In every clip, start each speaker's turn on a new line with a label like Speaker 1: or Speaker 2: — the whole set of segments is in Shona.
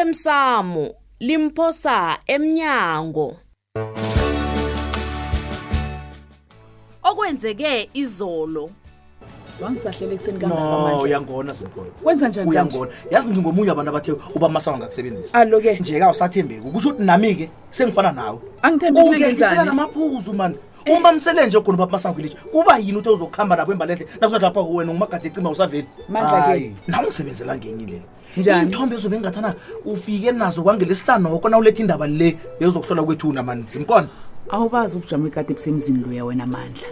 Speaker 1: osemsamo limphosa emnyango okwenzeke izolo
Speaker 2: wangisahlele ekuseni
Speaker 3: no
Speaker 2: kangakamanje
Speaker 3: uyangona zimgoyo
Speaker 2: Wenza njani
Speaker 3: uyangona yazi ngingomunye abantu abathe uba masango ngakusebenzisa
Speaker 2: alo-ke
Speaker 3: nje-ke awusathembeki kusho ukuthi nami-ke sengifana nawe
Speaker 2: Angithembekile
Speaker 3: Ungengisela
Speaker 2: ngenzani?
Speaker 3: namaphuzu mani umbamisele nje khona ubaba masango ilitshe kuba yini uthe uzokuhamba nabo embalenhle nakuzathi lapha wena ngumagade ecima usaveli
Speaker 2: Mandla-ke.
Speaker 3: Hayi, nawe ungisebenzela ngenye indlela
Speaker 2: Njani?
Speaker 3: iy'nthombe ezobe ngingathana ufike nazo kwangelesitanoko nawuletha indaba le ezokuhlola kwethuna mani zimkona
Speaker 2: awubazi ubujama ikade busemzini loya wena mandla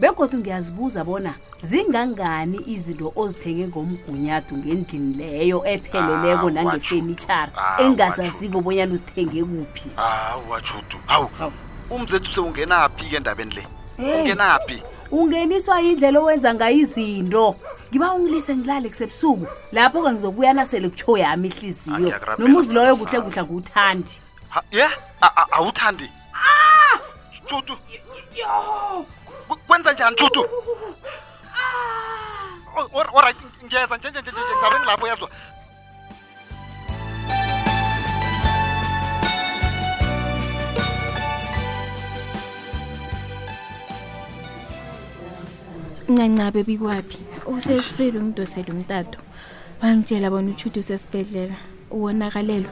Speaker 4: begodwa ngiyazibuza bona zingangani izinto ozithenge ngomgunyadu ngendlini leyo epheleleko
Speaker 5: Ah,
Speaker 4: nangefenitshara
Speaker 5: watjho. Ah,
Speaker 4: engingazaziko bonyana uzithenge kuphi
Speaker 5: hawu wajudu hawu
Speaker 4: Hawu.
Speaker 5: umzethu sewungenaphi-ke endabeni le ungenaphi
Speaker 4: ungeniswa yindlela owenza ngayo izinto ngiba ungilise ngilale kusebusuku lapho-ke ngizobuya nasele kutsho yami
Speaker 5: Ah,
Speaker 4: ihliziyo
Speaker 5: ngiyakurabhela
Speaker 4: nomuzi loyo
Speaker 5: mama.
Speaker 4: kuhle kuhle kuwuthandi
Speaker 5: Ha- ye A- a- awuthandi judu Ku- kwenza njani judu O- or- oright ngiyeza njenjenjenje ndabeni lapho yazwa
Speaker 6: ncancabe bikwaphi usesifrile ungidosele umtato wangitshela bona utshuthi usesibhedlela uwonakalelwe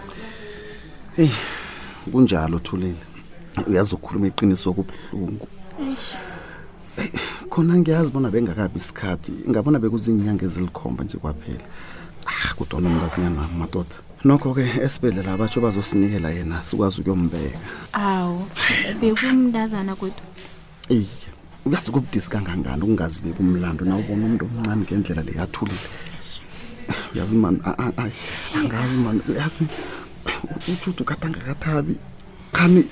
Speaker 7: kunjalo thulile uyazi ukhuluma iqiniso okubuhlungu Eh, khona ngiyazi bona bengakabi isikhathi ngabona bekuzinyanga ezilikhomba nje kwaphela ah kodwa nomntazinyana wami madoda nokho-ke esibhedlela abatsho bazosinikela yena sikwazi ukuyombeka
Speaker 6: awu bekumndazana kodwa
Speaker 7: iye uyazi kubudisi kangangani ukungazi bekumlando na ubona umuntu omncane ngendlela leyathulile uyazi mani a- a- a- angazi mani uyazi ujudu kade angakathabi khani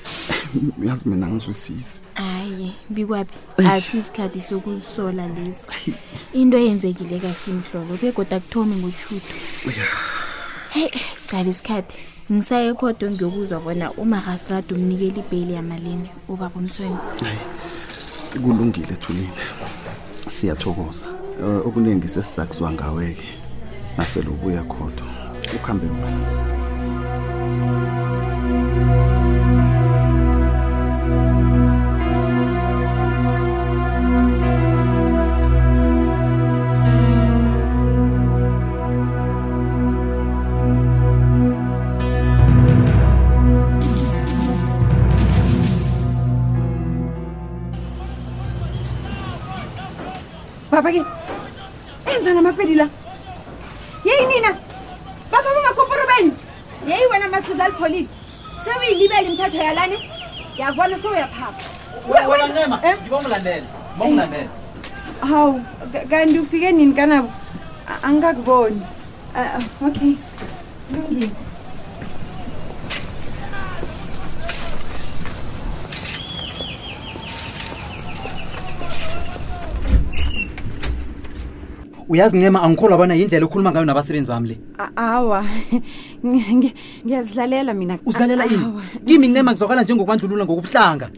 Speaker 7: uyazi mina angizwisisi
Speaker 6: hayi bikwaphi
Speaker 7: Eish.
Speaker 6: akusi isikhathi sokusola lesi into eyenzekile kasimhlolo begoda kuthomi ngotshuthu heyi cala isikhathi ngisaye khodwa ngiyokuzwa bona umagastrada umnikela ibheli yamalini ubaba umthweni
Speaker 7: kulungile thulile siyathokoza Eh, okuningi sesisakuzwa ngawe-ke nasele ubuya khodwa ukuhambe kuhle
Speaker 8: baba ke enza namapedi la yeyi nina baba bangakoporo benu yeyi wena mathuza alipholile sewuyilibeli imithetho yalane yakubona sewuyaphapha Eh? hawu ka- kanti ufike nini kanabo A- angikakuboni Ah, ah, okay kulungile
Speaker 9: uyazi ncema angikholwa bona yindlela okhuluma ngayo nabasebenzi bami le
Speaker 8: A- awa Ngi- ngi- ngiyazilalela mina
Speaker 9: uzilalela ini
Speaker 8: Awa.
Speaker 9: kimi ncema ngizwakala njengokubandlulula ngokobuhlanga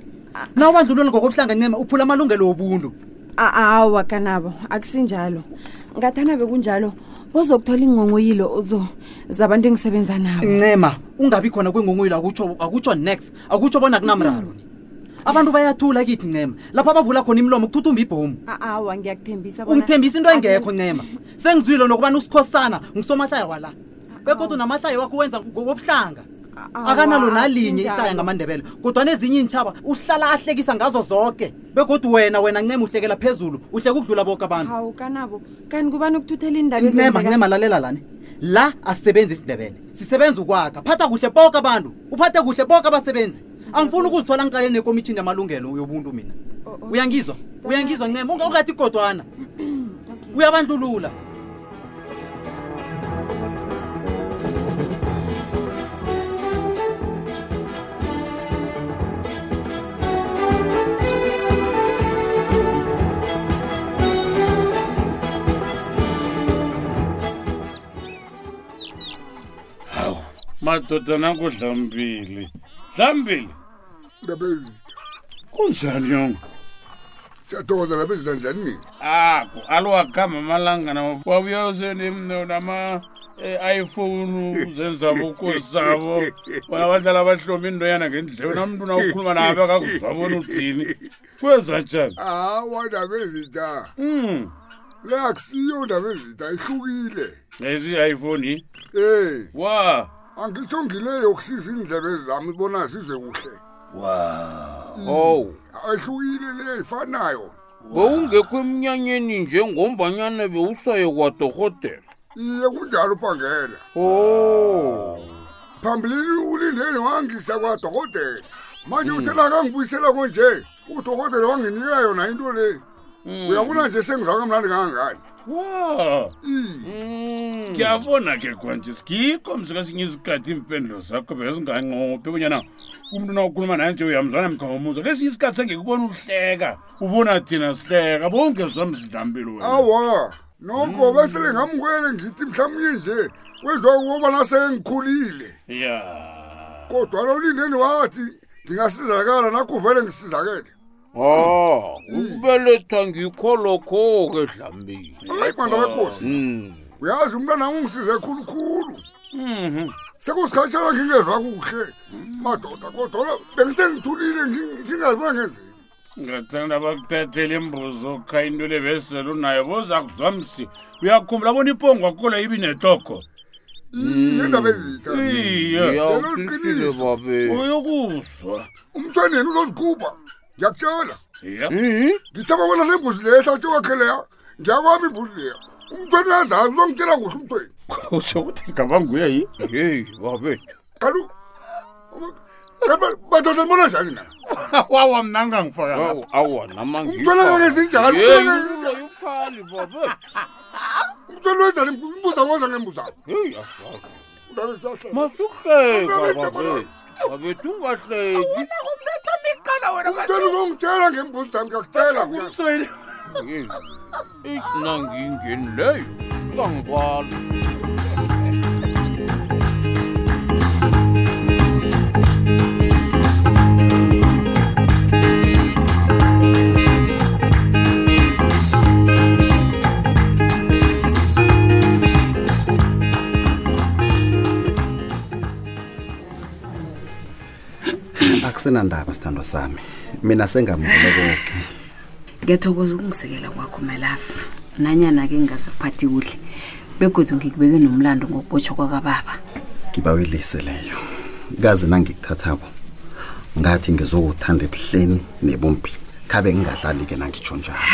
Speaker 9: na ubandlulula ngokobuhlanga ncema uphula amalungelo wobuntu
Speaker 8: A- awa kanabo akusinjalo ngathana bekunjalo bozokuthola ingongoyilo ozo- zabantu engisebenza nabo
Speaker 9: ncema ungabi khona kwengongoyilo akutsho akutsho next akutsho bona kunamraro ni abantu bayathula kithi ncema lapho abavula khona imlomo kuthuthumba ibhomu
Speaker 8: A- awa ngiyakuthembisa Ah, bona-
Speaker 9: ungithembisa into engekho ncema sengizwile nokubana usikhosana ngusomahlaya wala bekodwa namahlaya wakho wenza ngokobuhlanga
Speaker 8: A- awa,
Speaker 9: akanalo nalinye
Speaker 8: akusinjalo.
Speaker 9: ihlaya ngamandebele kodwa nezinye iintshaba uhlala ahlekisa ngazo zonke bekodwa wena wena ncema uhlekela phezulu uhleka ukudlula boke abantu
Speaker 8: hawu kanabo kanti kubani ukuthuthela iindaba
Speaker 9: ncema
Speaker 8: ezenzeka-
Speaker 9: ncema lalela lani la asisebenzi isindebele sisebenza ukwakha phatha kuhle boke abantu uphathe kuhle boke abasebenzi angifuni ukuzithola ngiqaleni ekomitshini yamalungelo yobuntu mina
Speaker 8: Oh, oh.
Speaker 9: uyangizwa uyangizwa ncema unga- ungathi godwana
Speaker 8: Okay.
Speaker 9: uyabandlulula
Speaker 10: madoda nakudlambile dlambile
Speaker 11: ndabezitha
Speaker 10: kunjani yongo
Speaker 11: siyathokoza lapha ezidla njani nina
Speaker 10: ako alwakhamba amalangana wabuya usenemnonama eh, iphone uzenza bokosi zabo bona badlala bahloma into yana ngendlebe namntu nawukhuluma nabe akakuzwa bona udini kwenza njani
Speaker 11: hawa ndaba ezitha
Speaker 10: Mm.
Speaker 11: le akusiyo ndaba ezitha ihlukile
Speaker 10: eziyi-iphone
Speaker 11: ey
Speaker 10: wa
Speaker 11: angitsho ngile yokusiza iindlebe zami bona zizwe kuhle
Speaker 12: wa
Speaker 11: ow ayihlukile le ifanayo
Speaker 12: bewungekho emnyanyeni njengombanyana bewusaye kwadorhotela
Speaker 11: iye kunjalo uphangela
Speaker 12: o
Speaker 11: phambilini ulindeni wangisa kwadokotela manje uthela kangibuyisela konje udokotela wanginika yona into le uyabona nje sengizwa kamnandi kangangani
Speaker 10: wa Hmm. ngiyabona ke kwanje sikikho msikasinye isikhathi iimpendulo zakho bezinganqophi bonyana umntu nawukhuluma naye nje uyamzwana mkhawumuza kesinye isikhathi sengekubona ukuhleka ubona thina sihleka bowungezwa msidlambile wena
Speaker 11: Oh. awa noko besele ngamkwele ngithi mhlawumnye nje wedlwa kubobana sengikhulile
Speaker 10: ya
Speaker 11: kodwana ulindeni wathi ngingasizakala nakuvele ngisizakele
Speaker 12: a ukubelethwa ngikho lokho-ke dlambile
Speaker 11: hayi bantu bekosi
Speaker 12: Mm.
Speaker 11: uyazi umntwana ungisize khulukhulu sekusikhatshana ngingezwa kuhle madoda kodwana bengisengithulile ngi- ngingaziba ngenzeni
Speaker 10: ngathanda bakuthathela imbuzo kha into le besele unayo boza kuzwa msi uyakhumbula bona ipongo akola ibi netoko
Speaker 11: Hmm,
Speaker 10: Hmm.
Speaker 11: indaba ezitha
Speaker 10: Iye.
Speaker 12: Uyawuqisile, babe.
Speaker 10: uyokuzwa
Speaker 11: umthwaneni uzozikhupha ngiyakutshela
Speaker 10: ya
Speaker 11: ngithaba bona nembuzi leyo ehlatshwe kwakhe leya ngiyakwami imbuzi leya umthweni yazazi uzongitshela kuhle umthweni
Speaker 10: utsho ukuthi ngaba nguye yi
Speaker 12: yeyi babethu
Speaker 11: kanti badoda nibona njani na
Speaker 10: wawa mna ngangifaka
Speaker 12: awa namangi
Speaker 11: umthweni akezinjalo
Speaker 12: uphali babe
Speaker 11: umthweni wenzani imbuza ngoza ngembuzana
Speaker 12: yeyi asazi
Speaker 11: masuhleka
Speaker 12: babe babethu ungahleki
Speaker 11: umntu othoma iqala wena umthweni uzongitshela ngembuzi zami ngiyakutshela
Speaker 10: umthweni
Speaker 12: Yeyi. Eish, nangingeni leyo kangibala
Speaker 7: akusenandaba sithandwa sami mina sengamukele koke
Speaker 13: ngiyathokoza ukungisekela kwakho malafu nanyana-ke ngingakakuphathi kuhle begodwa ngikubeke nomlando ngokubotshwa kwakababa
Speaker 7: ngibawelise leyo kazi nangikuthathako ngathi ngizokuthanda ebuhleni nebumbi khabe ngingadlali-ke nangitsho njalo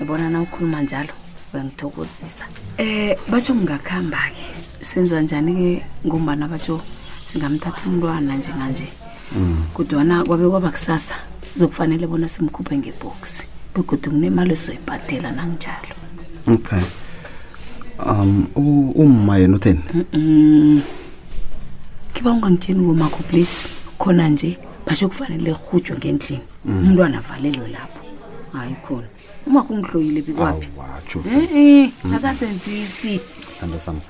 Speaker 13: ubona na ukhuluma njalo uyangithokozisa um batsho ngingakuhamba-ke senza njani-ke ngombana batsho singamthatha umntwana njenganje
Speaker 7: Mm.
Speaker 13: kodwana kwabe kwaba kusasa zokufanele bona simkhuphe ngebhoksi begodwa kunemali esoyibhadela nanginjalo
Speaker 7: okay um u- umma yena utheni
Speaker 13: Mm. kiba ungangitsheni komakho please khona nje basho kufanele rhutshwe ngendlini
Speaker 7: Mm.
Speaker 13: umntwana avalelwe lapho hayi khona umakho ungihloyile bikwaphi
Speaker 7: watsho
Speaker 13: e
Speaker 7: Mm.
Speaker 13: akazenzisi
Speaker 7: sithando sami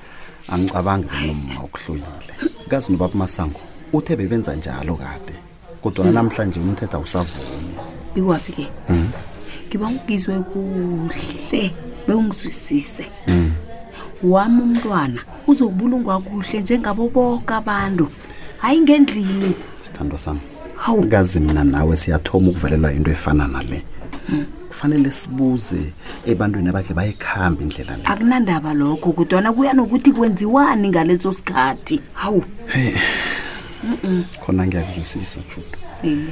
Speaker 7: angicabangi bona umma ukuhloyile kazi nobaba masango uthe bebenza njalo kade kodwana
Speaker 13: Mm.
Speaker 7: namhlanje umthetho awusavumi
Speaker 13: bikwaphi ke
Speaker 7: Mm.
Speaker 13: ngiba ungizwe kuhle bewungizwisise
Speaker 7: Mm.
Speaker 13: wami umntwana uzobulungwa kuhle njengabo boke abantu hayi ngendlini
Speaker 7: sithando sami
Speaker 13: hawu
Speaker 7: kazi mina nawe siyathoma ukuvelelwa into efana nale Hmm.
Speaker 13: Mm.
Speaker 7: kufanele sibuze ebantwini abakhe bayikhambe indlela le
Speaker 13: akunandaba lokho kudwana kuya nokuthi kwenziwani ngaleso sikhathi hawu
Speaker 7: hey
Speaker 13: mm-mm.
Speaker 7: khona ngiyakuzwisisa juda
Speaker 13: Iye.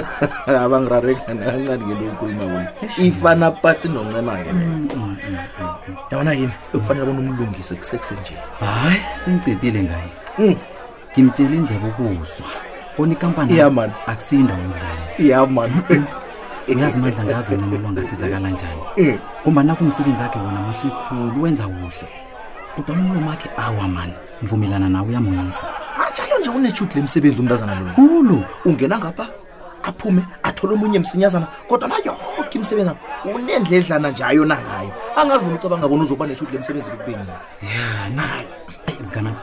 Speaker 14: abangirarekana kancane ke lokukhuluma kona ifana patsi noncema ke
Speaker 15: Mm,
Speaker 14: leyo yabona yini kufanele bona umlungise kusekuse nje
Speaker 15: hayi sengicedile ngaye
Speaker 3: Mm.
Speaker 15: ngimtshele indlebe ukuzwa bona ikampani
Speaker 14: Yeah, man.
Speaker 15: akusindawo yodlala
Speaker 14: ya mani
Speaker 15: uyazi mandla ngazi wena lwa ngasizakala
Speaker 3: Eh.
Speaker 15: njani ngombana kumsebenzi wakhe wona muhle khulu wenza kuhle kodwa nomlomo wakhe awa mani ngivumelana nawe uyamonisa
Speaker 3: Ah,
Speaker 14: atshalo nje unetshudi le msebenzi umntazana lo
Speaker 15: khulu
Speaker 14: ungena ngapha aphume
Speaker 3: uzothola omunye msinyazana kodwa nayoke imisebenzi akho unendledlana nje ayona ngayo angazi bona ucabanga bona uzoba neshudi lemsebenzi bekubeni
Speaker 15: ya nayo mkanam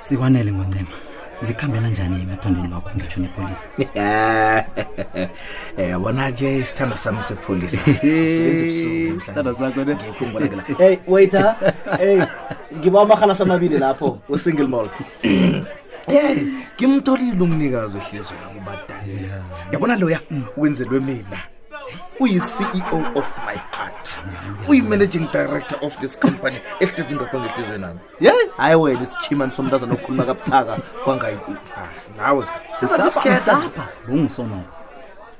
Speaker 15: sikwanele ngoncema zikhambela njani emathondeni wakho ngitsho nepolisa
Speaker 14: Eh yabona ke isithando sami sepolice. Sisebenza ebusuku. Isithando sakho ne? Ngikhumbula ke la.
Speaker 3: hey waiter hey ngiba amahalasi amabili lapho we-single malt
Speaker 14: Hey, Eh, ngimtholile umnikazi ohliziyo lami ubadala. Yabona loya
Speaker 3: Mm,
Speaker 14: wenzelwe mina.
Speaker 3: E
Speaker 14: Uyi-CEO of my heart. Uyi-managing director of this company ehliziyo ngakho ngehlizweni nami.
Speaker 3: yeyi hayi wena isichimani somntazana okhuluma kabuthaka kwangayi
Speaker 14: nawe
Speaker 3: sizaisiketa
Speaker 15: ungisonoko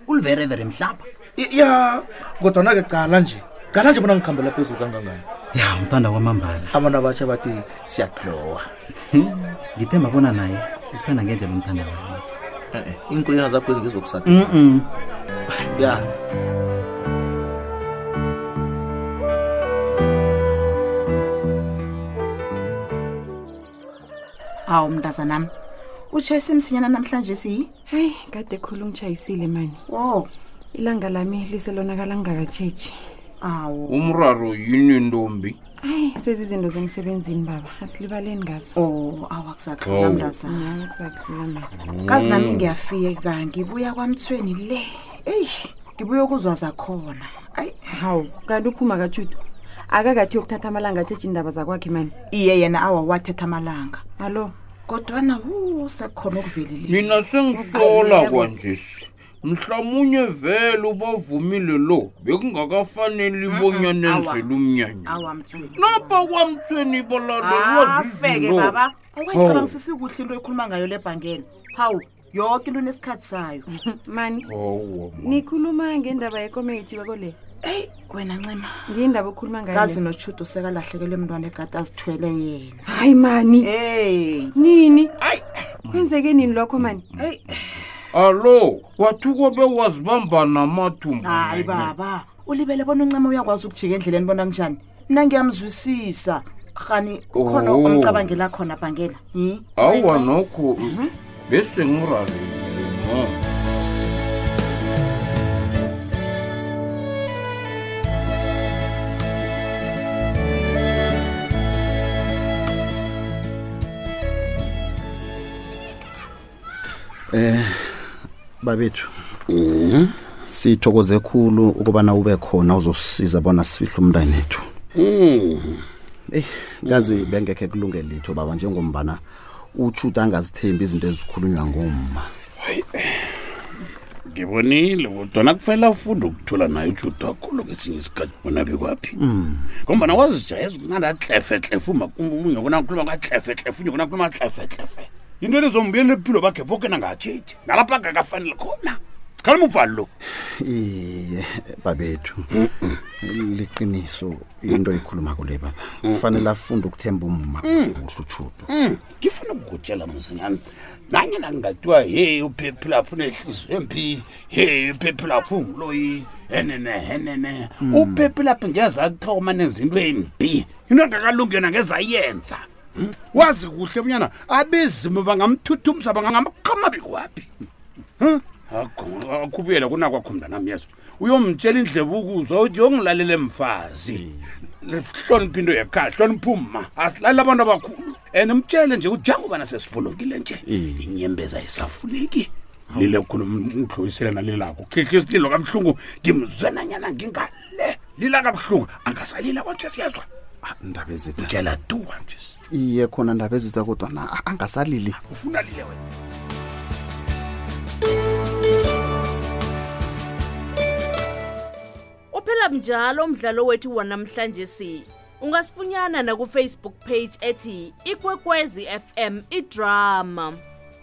Speaker 15: ulverevere mhlapha
Speaker 3: ya kodwana-ke cala nje cala nje bona ngikhambela phezulu kangangani
Speaker 15: ya umthanda kwamambala
Speaker 3: abantu abatsha bathi siyaklowa
Speaker 15: Hmm? ngithemba bona naye ukuthanda ngendlela umthanda ngayo
Speaker 3: iinkulena zakho ezingezokusata
Speaker 15: Mm-mm.
Speaker 3: ya
Speaker 16: hawu mntazanam utshayise msinyana namhlanje siyi
Speaker 17: heyi kade khulu ngitshayisile mani
Speaker 16: wo
Speaker 17: ilanga lami liselonakala ngingakatshetshi
Speaker 16: awu
Speaker 12: umraro yini ntombi
Speaker 17: ayi sezizinto zemsebenzini baba asilibaleni ngazo
Speaker 16: o awakusakhula
Speaker 12: Hawu.
Speaker 16: Oh, mntazana
Speaker 17: akusakhula mani
Speaker 16: kazi nami
Speaker 12: Mm.
Speaker 16: ngiyafika ngibuya kwamthweni le eyi ngibuye ukuzwa zakhona ayi
Speaker 17: hawu kanti uphuma katshudu akakathi yokuthatha amalanga atshetshi indaba zakwakhe mani
Speaker 16: iye yena awa wathetha amalanga
Speaker 17: alo
Speaker 16: kodwana wu sekhona okuvelile
Speaker 12: mina sengisola kwanjesi mhlawumunye vele ubavumile lo bekungakafaneli bonyanenzela umnyanya
Speaker 16: awa mthweni
Speaker 12: lapha kwamthweni balalelwa
Speaker 16: afeke baba awuyicabangisisi kuhle into ekhuluma ngayo le bhangela hawu yoke into nesikhathi sayo
Speaker 17: mani
Speaker 12: hawa
Speaker 17: nikhuluma ngendaba yekomedi bakole
Speaker 16: eyi wena ncema
Speaker 17: ngiyindaba okhuluma ngayo
Speaker 16: kazi
Speaker 17: le?
Speaker 16: notshudo sekalahlekelwe mntwana egade azithwele yena
Speaker 17: hayi mani
Speaker 16: hey
Speaker 17: nini kwenzeke nini lokho mani
Speaker 16: eyi
Speaker 12: alo wathi kobe wazibamba namathumbu
Speaker 16: hayi
Speaker 12: wena.
Speaker 16: baba ulibele bona uncema uyakwazi ukujika endleleni bona kunjani mna ngiyamzwisisa rhani kukhona
Speaker 12: Oh.
Speaker 16: omcabangela khona bhangela yi
Speaker 12: awa nokho
Speaker 16: Mm-hmm.
Speaker 12: bese ngiralele ma
Speaker 7: Eh babethu. Mm-hmm. Sithokoze khulu ukuba na ube khona uzosisiza bona sifihle umntana wethu.
Speaker 12: Mm.
Speaker 7: Eh ngazi bengeke kulungele litho baba njengombana utshuta angazithembi izinto ezikhulunywa ngoma.
Speaker 10: ngibonile kodwana kufanele afunde ukuthula naye ujuda wakhulu kwesinye isikhathi bona bekwaphi
Speaker 7: Mm.
Speaker 10: ngombana wazijayeza ukunalatlefetlefe ungekona khuluma kwatlefetlefe ungekona khuluma katlefetlefe into lezombuyelela ebuphilo bakhe boke nangatshitshi nalapha angakafanele khona sikhalima ubhali lo
Speaker 7: Iye babethu. Liqiniso into ikhuluma kule baba. Kufanele afunde ukuthemba umma
Speaker 10: Mm.
Speaker 7: kuhle utshuto.
Speaker 10: Mm, ngifuna ukukutshela mzinyana nanyana kungathiwa heyi uphephilapho unehliziyo empi heyi uphephilapho unguloyi henene henene
Speaker 12: Mm.
Speaker 10: uphephilapho ngeza akuthoma nezinto embi into engakalungena ngezayenza Mm, wazi kuhle bunyana abezimu bangamthuthumisa bangamqama bekwaphi akhubuyela kunakwakho mntanam yeso uyomtshela indleba ukuzwa uthi yongilalele mfazi hloniphi into yakhaya hloniphi uma asilali abantu abakhulu and mtshele nje ujangobana sesibulungile nje inyembeza ayisafuneki lile khona ngidlulisele nalilakho khihla isililo kabuhlungu ngimzwe nanyana ngingale lila kabuhlungu angasalila kwanje siyezwa
Speaker 7: Indaba ezitha.
Speaker 10: mtshela duwa nje
Speaker 7: Iye khona indaba ezitha kodwa na a- angasalili.
Speaker 10: ufuna lile wena
Speaker 1: uphela mnjalo umdlalo wethu wanamhlanje si ungasifunyana nakufacebook page ethi ikwekwezi fm idrama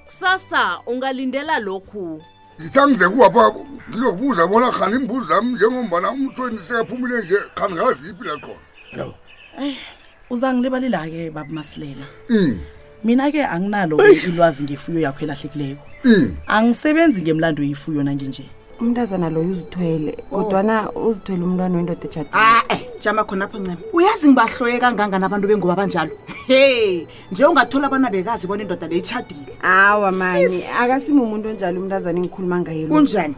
Speaker 1: kusasa ungalindela lokhu
Speaker 11: ngithangize kuwapha ngizokubuza bona khani imbuzi zami njengombana umthweni sekaphumile nje khani ngaziphi lakhona
Speaker 18: uzangilibalila-ke baba masilela
Speaker 11: Mm.
Speaker 18: mina-ke anginalo ilwazi ngefuyo yakho elahlekileyo angisebenzi ngemlando yefuyo nanginje
Speaker 17: umntazana loyo uzithwele kodwana uzithwele umntwana wendoda ejadile
Speaker 16: ae Oh. jama khonapho ncema uyazi ngibahloye kangangani abantu bengoba banjalo he nje ungathola abana bekazi bona indoda beyitshadile
Speaker 17: awa mani
Speaker 16: Sis.
Speaker 17: akasimi umuntu onjalo umntazana engikhuluma ngaye lo.
Speaker 16: kunjani